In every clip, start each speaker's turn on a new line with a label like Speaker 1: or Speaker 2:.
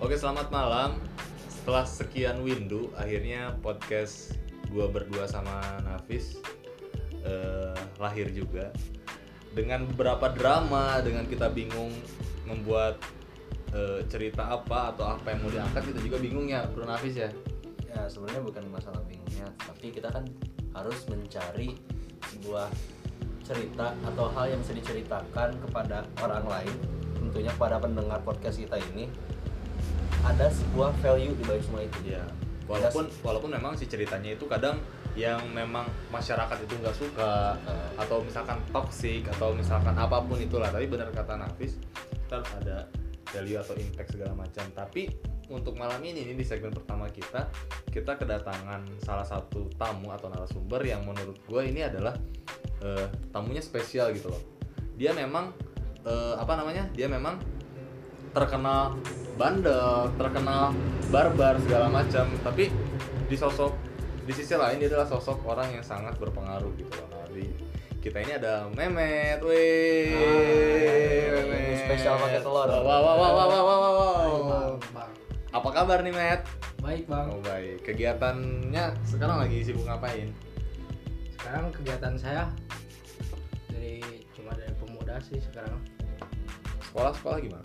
Speaker 1: Oke, selamat malam. Setelah sekian windu, akhirnya podcast gua berdua sama Nafis eh, lahir juga. Dengan beberapa drama, dengan kita bingung membuat eh, cerita apa atau apa yang mau diangkat, kita juga bingung ya, Bro Nafis ya.
Speaker 2: ya sebenarnya bukan masalah bingungnya tapi kita kan harus mencari sebuah cerita atau hal yang bisa diceritakan kepada orang lain tentunya kepada pendengar podcast kita ini ada sebuah value di balik semua itu
Speaker 1: Ya, walaupun walaupun memang si ceritanya itu kadang yang memang masyarakat itu nggak suka atau misalkan toksik atau misalkan apapun itulah. Tapi benar kata Nafis, tetap ada value atau impact segala macam. Tapi untuk malam ini ini di segmen pertama kita, kita kedatangan salah satu tamu atau narasumber yang menurut gue ini adalah eh, tamunya spesial gitu loh. Dia memang eh, apa namanya? Dia memang terkenal bandel, terkenal barbar segala macam, tapi di sosok di sisi lain dia adalah sosok orang yang sangat berpengaruh gitu loh. Nah, di kita ini ada Memet, wih.
Speaker 2: Ah, Hai,
Speaker 1: Memet.
Speaker 2: iya, spesial pakai telur.
Speaker 1: Wah, wah, wah, wah, wah, wah,
Speaker 3: Baik,
Speaker 1: wah.
Speaker 3: Bang. Bang.
Speaker 1: Apa kabar nih, Met?
Speaker 3: Baik, Bang.
Speaker 1: Oh, baik. Kegiatannya sekarang lagi sibuk ngapain?
Speaker 3: Sekarang kegiatan saya dari cuma dari pemuda sih sekarang
Speaker 1: Sekolah-sekolah gimana?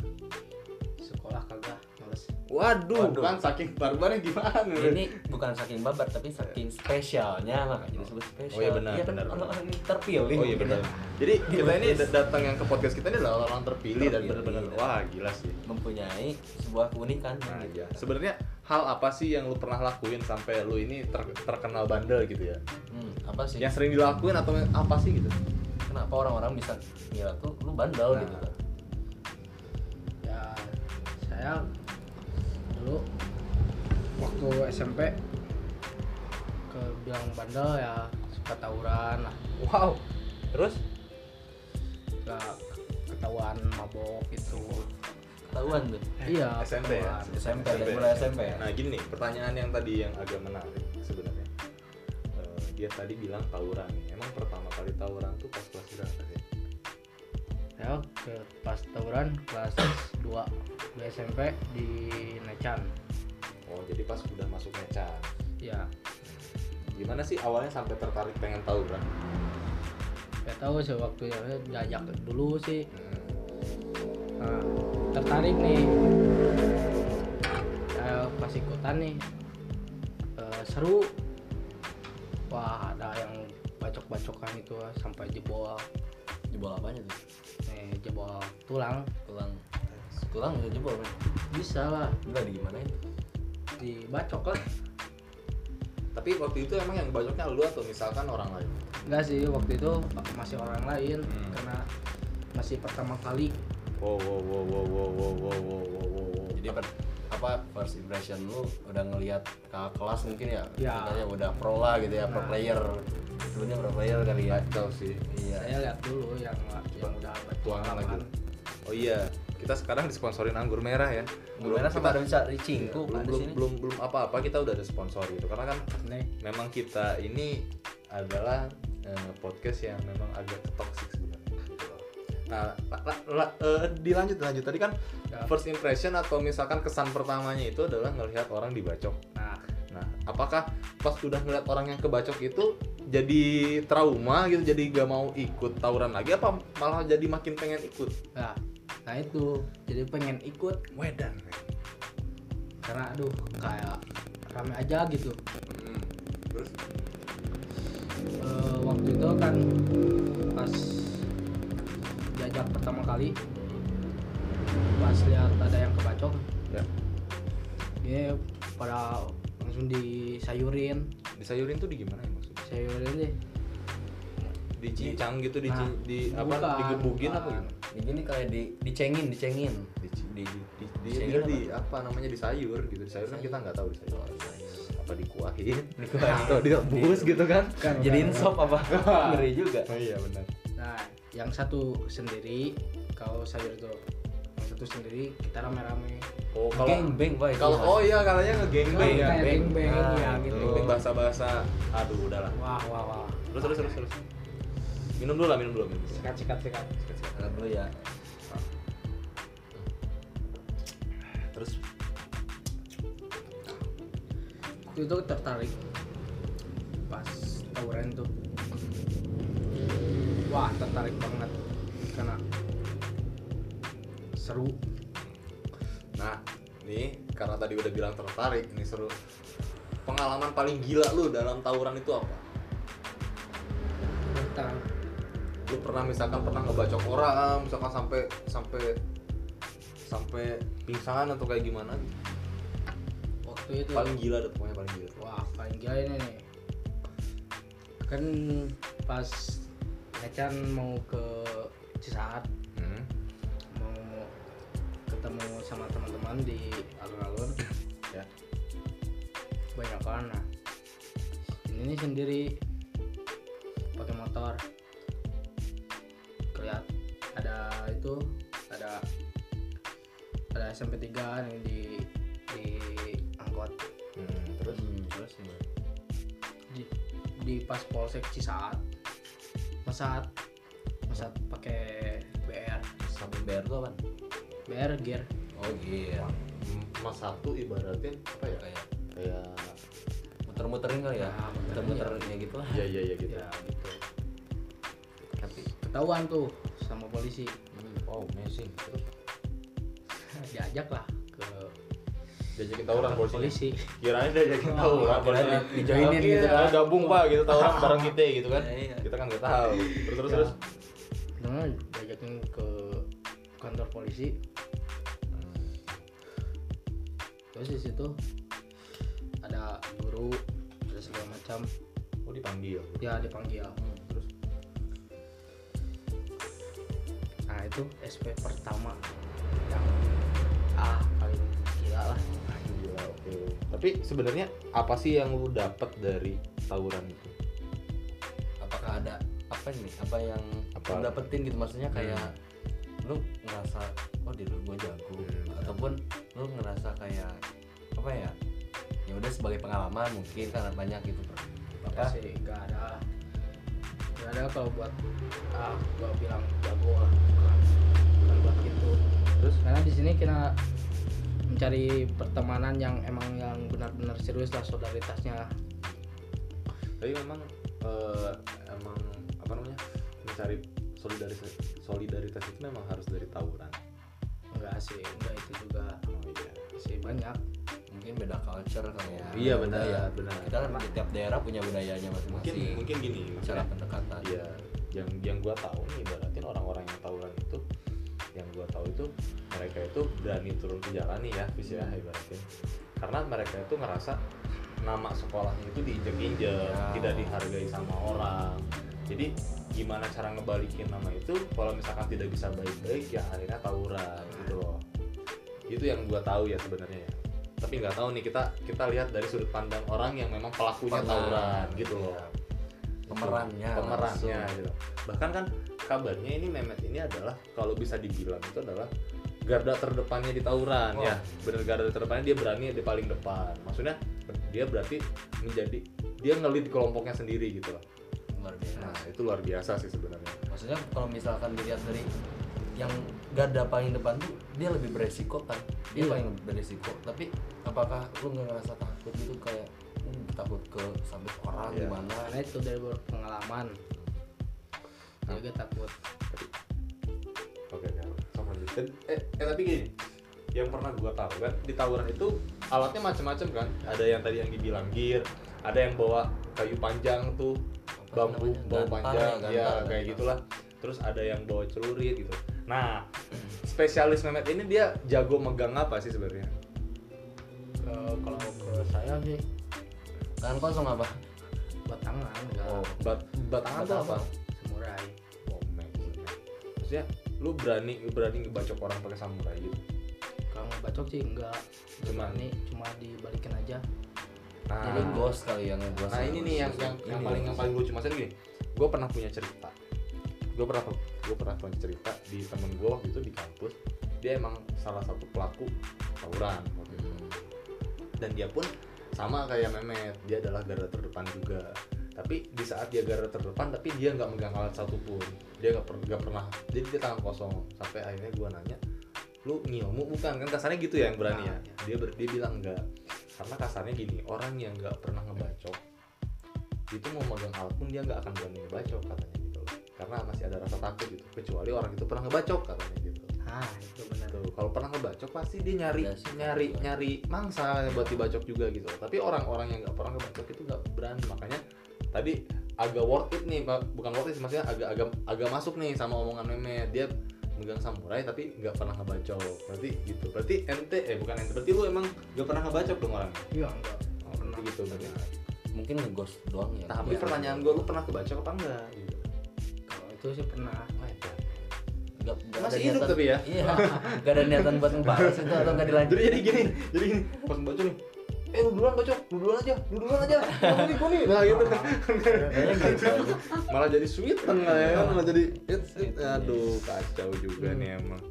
Speaker 3: sekolah kagak males.
Speaker 1: Waduh,
Speaker 2: Waduh.
Speaker 1: kan saking barbarnya gimana?
Speaker 2: ini bukan saking babar tapi saking spesialnya makanya disebut spesial
Speaker 1: Oh iya, benar,
Speaker 2: Iya kan
Speaker 1: benar,
Speaker 2: orang-orang yang terpilih ya,
Speaker 1: Oh iya benar. Jadi kita ini dat- datang yang ke podcast kita ini adalah orang terpilih dan
Speaker 2: Terpilih.
Speaker 1: benar-benar wah gila sih.
Speaker 2: mempunyai sebuah keunikan
Speaker 1: Nah,
Speaker 2: gitu.
Speaker 1: ya. Sebenarnya hal apa sih yang lu pernah lakuin sampai lu ini ter- terkenal bandel gitu ya?
Speaker 2: Hmm, apa sih
Speaker 1: Yang sering dilakuin atau apa sih gitu?
Speaker 2: kenapa orang-orang bisa ngira tuh lu bandel
Speaker 1: Nah.
Speaker 2: gitu kan
Speaker 3: Ya saya dulu waktu SMP ke bilang bandel ya suka tawuran lah
Speaker 1: Wow. Terus?
Speaker 3: suka ketahuan mabok gitu
Speaker 2: ketahuan tuh
Speaker 3: iya
Speaker 1: SMP ya?
Speaker 3: ketahuan.
Speaker 2: SMP, dari mulai SMP ya
Speaker 1: Nah gini nih, pertanyaan yang tadi yang agak menarik sebenarnya. Eh, dia tadi bilang tawuran. Emang pertama kali tawuran tuh pas kelas berapa sih?
Speaker 3: saya Ya, ke pas tawuran kelas 2 2 SMP di Necan
Speaker 1: Oh jadi pas udah masuk mecan.
Speaker 3: ya
Speaker 1: Gimana sih awalnya sampai tertarik pengen tawuran?
Speaker 3: Gak tahu sih waktunya diajak dulu sih.
Speaker 1: Hmm.
Speaker 3: Nah, tertarik nih. Saya pas ikutan nih. Eh, seru. Wah, ada yang bacok-bacokan itu sampai jebol.
Speaker 2: jebol apanya tuh
Speaker 3: Nih, jebol tulang.
Speaker 2: tulang tulang udah jebol kan
Speaker 3: Bisa lah
Speaker 2: enggak di gimana itu
Speaker 3: dibacok lah.
Speaker 1: Tapi waktu itu emang yang banyaknya lu atau misalkan orang lain?
Speaker 3: Enggak sih, waktu itu masih orang lain
Speaker 1: Hmm.
Speaker 3: karena masih pertama kali.
Speaker 1: Wow wow wow wow wow wow wow wow wow wow, wow.
Speaker 2: jadi per- apa first impression lu udah ngelihat kakak kelas mungkin ya
Speaker 3: Ya.
Speaker 2: katanya udah pro lah gitu ya pro
Speaker 3: Nah.
Speaker 2: player sebelumnya pro player kali ya
Speaker 1: Kacau sih.
Speaker 2: iya
Speaker 3: Saya lihat dulu yang yang udah
Speaker 1: Tuangan lagi. Oh iya, kita sekarang disponsorin anggur merah ya.
Speaker 2: gimana
Speaker 1: Belum-
Speaker 2: sama
Speaker 1: kita-
Speaker 2: ada bisa
Speaker 1: Iya,
Speaker 2: ricingku
Speaker 1: belum, belum, belum belum apa-apa kita udah ada sponsor gitu karena kan
Speaker 3: Nih,
Speaker 1: memang kita ini adalah eh, podcast yang memang agak toxic sebenarnya. Nah, la- la- la- eh, dilanjut lanjut tadi kan
Speaker 3: Ya.
Speaker 1: first impression atau misalkan kesan pertamanya itu adalah ngelihat orang dibacok.
Speaker 3: nah
Speaker 1: Nah, apakah pas udah ngeliat orang yang kebacok itu jadi trauma gitu, jadi gak mau ikut tawuran lagi apa malah jadi makin pengen ikut?
Speaker 3: Nah, nah itu jadi pengen ikut
Speaker 1: Wedan.
Speaker 3: karena aduh kayak rame aja gitu.
Speaker 1: Hmm. Terus
Speaker 3: Eh, waktu itu kan pas diajak pertama kali pas lihat ada yang kebacok
Speaker 1: ya
Speaker 3: dia pada langsung disayurin
Speaker 1: disayurin tuh di gimana ya maksudnya?
Speaker 3: sayurin deh
Speaker 1: Dicincang gitu, di,
Speaker 3: Nah,
Speaker 1: di Nah, apa
Speaker 3: bukan,
Speaker 1: digebukin
Speaker 3: bukan.
Speaker 1: apa gimana?
Speaker 2: di gini kayak di dicengin dicengin
Speaker 1: Di, di, di, di, di, dia
Speaker 2: Disayurin
Speaker 1: di apa namanya disayur gitu disayur kan kita nggak tahu disayur apa. apa dikuahin
Speaker 2: Dikuahin.
Speaker 1: atau direbus gitu kan
Speaker 2: jadiin sop apa ngeri juga
Speaker 1: oh iya benar
Speaker 3: Nah, yang satu sendiri kalau sayur tuh yang satu sendiri kita rame-rame.
Speaker 1: oh kalau
Speaker 2: gangbang boy
Speaker 1: kalau oh iya katanya
Speaker 3: Kayak
Speaker 1: ngegengbang ya
Speaker 2: beng.
Speaker 3: beng-beng,
Speaker 2: Nah,
Speaker 3: ya gitu.
Speaker 1: Ini bahasa-bahasa aduh udahlah.
Speaker 3: Wah, wah, wah.
Speaker 1: Terus terus terus terus. Minum dulu lah, minum dulu. Minum. dulu.
Speaker 3: Sikat, sikat, sikat.
Speaker 2: Kalau dulu ya
Speaker 1: Terus
Speaker 3: waktu itu tertarik pas tawuran tuh wah tertarik banget karena seru
Speaker 1: Nah, nih karena tadi udah bilang tertarik, ini seru. Pengalaman paling gila lu dalam tawuran itu apa?
Speaker 3: tentang
Speaker 1: Lu pernah misalkan pernah ngebacok orang, misalkan sampai sampai sampai pingsan atau kayak gimana? gitu.
Speaker 3: waktu itu
Speaker 1: Paling gila deh pokoknya paling gila.
Speaker 3: wah paling gila ini nih kan pas Macan mau ke Cisaat
Speaker 1: Hmm.
Speaker 3: mau ketemu sama teman-teman di alun-alun
Speaker 1: Ya.
Speaker 3: banyak orang nah ini nih sendiri pakai motor kelihat ada itu ada ada SMP 3 nih di di angkot
Speaker 1: Hmm, terus
Speaker 2: terus gimana?
Speaker 3: di, di pas polsek Cisaat Masat Masat pakai BR
Speaker 2: sampai bayar tuh apaan?
Speaker 3: BR gear
Speaker 2: oh iya
Speaker 1: Hmm, mas satu ibaratnya apa ya?
Speaker 2: kayak
Speaker 1: Kayak
Speaker 2: muter-muterin kali ya
Speaker 1: Ah,
Speaker 3: Nah,
Speaker 2: muter-muter ya gitu lah
Speaker 1: ya ya ya gitu.
Speaker 3: ya gitu
Speaker 2: tapi
Speaker 3: ketahuan tuh sama polisi
Speaker 2: hmm,
Speaker 1: Wow, amazing. Terus
Speaker 3: diajak lah ke
Speaker 1: diajakin tawuran polisi.
Speaker 3: polisi
Speaker 1: Kirain diajakin tawuran
Speaker 2: kirain
Speaker 1: polisinya.
Speaker 2: di- dijoinin
Speaker 1: Iya,
Speaker 2: gitu kan.
Speaker 1: Gabung Pak gitu tawuran bareng kita gitu kan.
Speaker 2: Iya, iya.
Speaker 1: Kita kan nggak tahu. Terus terus
Speaker 3: Ya.
Speaker 1: terus.
Speaker 3: nah diajakin ke kantor polisi Eh, terus di situ ada guru ada segala macam
Speaker 1: Oh dipanggil.
Speaker 3: ya dipanggil
Speaker 1: Terus
Speaker 3: nah itu SP pertama yang ah paling gila lah
Speaker 1: Gila, iya, oke. Tapi sebenarnya apa sih yang lu dapat dari tawuran itu?
Speaker 2: apakah ada apa nih apa yang
Speaker 1: Apa? Hmm.
Speaker 2: lu dapetin gitu maksudnya kayak lu ngerasa oh diri gue jago
Speaker 1: Hmm.
Speaker 2: ataupun lu ngerasa kayak apa ya ya udah sebagai pengalaman mungkin karena banyak gitu per-
Speaker 1: Iya
Speaker 3: Gak
Speaker 2: apa
Speaker 3: sih gak ada gak ada kalau buat ah gua bilang jago lah bukan bukan buat gitu
Speaker 1: Terus
Speaker 3: karena di sini kita mencari pertemanan yang emang yang benar-benar serius lah solidaritasnya
Speaker 1: tapi memang eh, emang apa namanya? Mencari solidaritas solidaritas itu memang harus dari tawuran.
Speaker 3: enggak sih enggak itu juga
Speaker 1: Oh iya.
Speaker 3: sih banyak
Speaker 2: mungkin beda culture kali ya
Speaker 1: Iya, benar,
Speaker 2: Budaya.
Speaker 1: benar.
Speaker 2: kita kan di tiap daerah punya budayanya
Speaker 1: Mungkin
Speaker 2: masing-masing
Speaker 1: mungkin gini.
Speaker 2: cara
Speaker 1: maksudnya-
Speaker 2: pendekatan
Speaker 1: Iya. Yang yang gua tahu nih ibaratin orang-orang yang tawuran itu yang gua tahu itu mereka itu berani turun ke jalan nih ya, Fis
Speaker 2: Hmm.
Speaker 1: ya ibaratin. Karena mereka itu ngerasa nama sekolahnya itu diinjek-injek,
Speaker 2: Ya.
Speaker 1: tidak dihargai sama orang. Jadi gimana cara ngebalikin nama itu kalau misalkan tidak bisa baik-baik ya akhirnya tawuran gitu loh. Itu yang gua tahu ya sebenarnya ya. Tapi nggak tahu nih kita kita lihat dari sudut pandang orang yang memang pelakunya
Speaker 2: Pernah.
Speaker 1: tawuran gitu loh
Speaker 2: Iya. pemerannya
Speaker 1: pemerannya
Speaker 2: langsung.
Speaker 1: gitu. bahkan kan kabarnya ini Mehmet ini adalah kalau bisa dibilang itu adalah garda terdepannya di tawuran
Speaker 2: Wah.
Speaker 1: ya bener garda terdepannya dia berani di paling depan maksudnya dia berarti menjadi dia ngelit kelompoknya sendiri gitu loh
Speaker 2: luar biasa
Speaker 1: nah itu luar biasa sih sebenarnya
Speaker 2: maksudnya kalau misalkan dilihat dari yang garda paling depan tuh dia lebih beresiko kan dia
Speaker 3: Iya.
Speaker 2: paling beresiko tapi apakah lu nggak ngerasa takut gitu kayak "Hmm, takut ke sambit orang
Speaker 1: Iya.
Speaker 2: gimana
Speaker 3: karena itu dari pengalaman juga takut
Speaker 1: oke oke sama lanjut. Dan- eh, eh tapi gini yang pernah gua tahu kan di tawuran itu alatnya macam-macam kan ada yang tadi yang dibilang gear ada yang bawa kayu panjang tuh
Speaker 2: Apa
Speaker 1: bambu
Speaker 2: namanya?
Speaker 1: bawa
Speaker 2: Gantar
Speaker 1: panjang
Speaker 2: ya,
Speaker 1: ya
Speaker 2: gantar,
Speaker 1: kayak
Speaker 2: gantar.
Speaker 1: gitulah terus ada yang bawa celurit gitu nah spesialis Mehmet ini dia jago megang apa sih sebenarnya
Speaker 3: ke, Eh, kalau ke saya sih
Speaker 2: tangan Kan kosong apa
Speaker 3: buat tangan enggak
Speaker 2: Oh,
Speaker 1: bat batangan tuh apa
Speaker 3: samurai
Speaker 1: oh Mehmet. maksudnya lu berani berani ngebacok orang pakai samurai gitu
Speaker 3: kalau bacok sih enggak
Speaker 1: Cuman-
Speaker 3: cuma nih cuma dibalikin aja
Speaker 1: nah
Speaker 2: jadi ghost kali yang ghost
Speaker 1: Nah ini nih yang yang, yang paling yang paling lucu maksudnya gini, gue pernah punya cerita, gue pernah gue pernah punya cerita di temen gue waktu itu di kampus, dia emang salah satu pelaku tawuran waktu itu. dan dia pun sama kayak Memet, dia adalah garda terdepan juga. Tapi di saat dia garda terdepan, tapi dia nggak megang alat satupun, dia nggak per, nggak pernah, jadi dia tangan kosong. Sampai akhirnya gue nanya, lu ngilmu bukan kan kasarnya gitu ya yang berani ya? Dia ber, dia bilang enggak. karena kasarnya gini orang yang nggak pernah ngebacok itu mau megang alat pun dia nggak akan berani ngebacok katanya gitu loh karena masih ada rasa takut gitu kecuali orang itu pernah ngebacok katanya gitu
Speaker 3: ah itu benar
Speaker 1: Tuh, Gitu. kalau pernah ngebacok pasti dia nyari
Speaker 2: Ada sih.
Speaker 1: nyari nyari mangsa buat dibacok juga gitu. Tapi orang-orang yang nggak pernah ngebacok itu nggak berani. Makanya tadi agak worth it nih, Pak. bukan worth it sih, maksudnya agak agak agak masuk nih sama omongan meme. Dia megang samurai tapi nggak pernah ngebacok. Berarti gitu. Berarti ente eh bukan ente. Berarti lu emang nggak pernah ngebacok dong orangnya.
Speaker 3: iya enggak
Speaker 1: Oh, berarti gitu. berarti.
Speaker 2: mungkin ngeghost doang ya
Speaker 1: Tapi pertanyaan gue, lu pernah kebacok apa enggak? Gitu.
Speaker 3: kalau itu sih pernah
Speaker 1: Oh, itu.
Speaker 2: Gak,
Speaker 1: Masih hidup tapi ya?
Speaker 2: Iya Gak ada niatan buat ngebales itu atau gak dilanjut
Speaker 1: jadi jadi gini jadi gini pas bocor nih eh lu duluan bocor lu duluan aja lu duluan aja Gua nih gua nih nah gitu kan
Speaker 2: Kayaknya gitu aja.
Speaker 1: malah jadi sweet kan ya kan malah jadi it's, it,
Speaker 2: Sweeten,
Speaker 1: aduh kacau juga
Speaker 3: Hmm.
Speaker 1: nih emang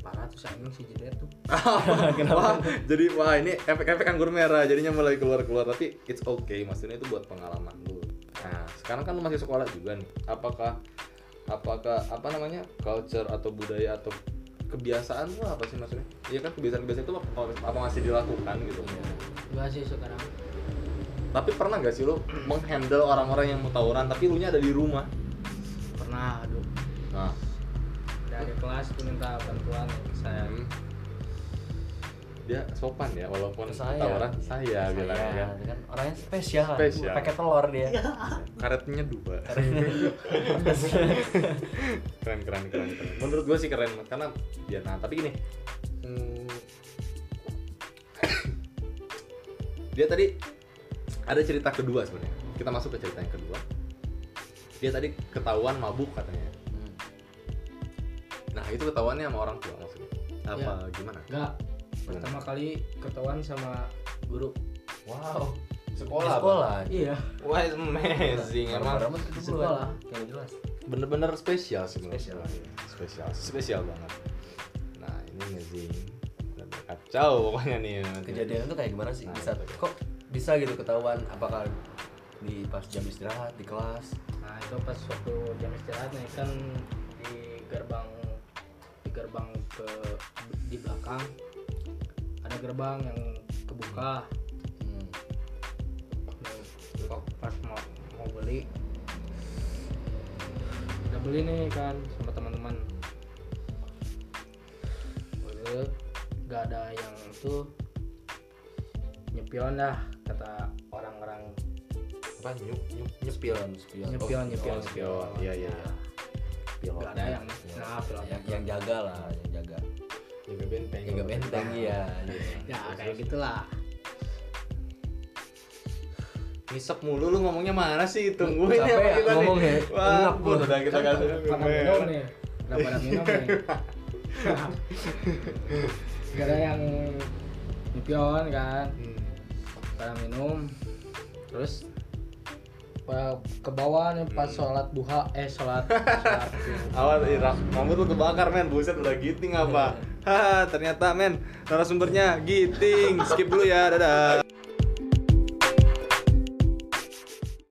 Speaker 3: parah tuh si anjing si jeder tuh
Speaker 1: Oh, wah jadi wah ini efek-efek anggur merah jadinya mulai keluar-keluar tapi it's okay maksudnya itu buat pengalaman lu nah sekarang kan lu masih sekolah juga nih apakah apakah apa namanya culture atau budaya atau kebiasaan lu apa sih maksudnya iya kan kebiasaan-kebiasaan itu apa- apa masih dilakukan gitu
Speaker 3: enggak sih sekarang
Speaker 1: Tapi pernah gak sih lo menghandle orang-orang yang mau tawuran tapi lu nya ada di rumah?
Speaker 3: pernah aduh
Speaker 1: Nah,
Speaker 3: dari kelas tuh minta bantuan saya
Speaker 1: hmm. dia sopan ya walaupun
Speaker 2: Saya.
Speaker 1: tawuran saya, bilang
Speaker 3: Iya,
Speaker 1: ya.
Speaker 2: dia kan orangnya spesial,
Speaker 1: Spesial.
Speaker 2: pakai telur dia
Speaker 1: Karetnya dua. keren keren keren keren. Menurut gue sih keren karena dia nah tapi gini. hmm, dia tadi ada cerita kedua sebenarnya. Kita masuk ke cerita yang kedua. Dia tadi ketahuan mabuk katanya.
Speaker 2: Hmm.
Speaker 1: Nah itu ketahuannya sama orang tua maksudnya apa
Speaker 2: Ya.
Speaker 1: gimana?
Speaker 3: enggak pertama kali ketahuan sama guru
Speaker 2: wow
Speaker 1: Sekolah,
Speaker 2: sekolah
Speaker 3: iya
Speaker 1: Wah it's amazing emang.
Speaker 2: Rambut itu
Speaker 3: Sekolah.
Speaker 2: sekolah kayak jelas
Speaker 1: Bener-bener spesial sih menurut
Speaker 2: Spesial. iya.
Speaker 1: gua. spesial, spesial banget. Nah ini amazing. Bener-bener Kacau pokoknya nih.
Speaker 2: kejadian itu kayak gimana sih
Speaker 1: Nah,
Speaker 2: bisa
Speaker 1: itu.
Speaker 2: kok bisa gitu ketahuan apakah di pas jam istirahat di kelas
Speaker 3: nah itu pas waktu jam istirahat nih kan di gerbang di gerbang ke di belakang ada gerbang yang kebuka
Speaker 2: hmm.
Speaker 3: Kok pas mau mau beli udah beli nih kan sama teman-teman Beli, nggak ada yang itu nyepion dah kata orang-orang
Speaker 1: Apa nyuk nyuk nyepil
Speaker 2: spion
Speaker 3: nyepion nyepion
Speaker 1: oh, iya. spion. Iya, iya, iya.
Speaker 2: Spion.
Speaker 3: nggak ada yang
Speaker 2: Ya.
Speaker 3: nah pilot
Speaker 2: yang, yang jaga lah yang jaga
Speaker 1: Jaga benteng.
Speaker 2: jaga benteng iya
Speaker 3: ya kayak gitulah
Speaker 1: Ngisep mulu lu ngomongnya mana sih? Tungguin
Speaker 2: Capek
Speaker 1: sama
Speaker 2: ya ngomong ya,
Speaker 1: Wah,
Speaker 2: enak gua.
Speaker 1: udah kita kasih. ya.
Speaker 3: pada minum nih udah pada minum nih gak ada yang nyepion kan
Speaker 1: Hmm.
Speaker 3: pada minum terus pada ke bawah nih pas sholat duha eh sholat, sholat duha.
Speaker 1: Awas Irak, rambut lu kebakar men, buset udah giting apa? Haha, ternyata men, narasumbernya giting. Skip dulu ya, dadah.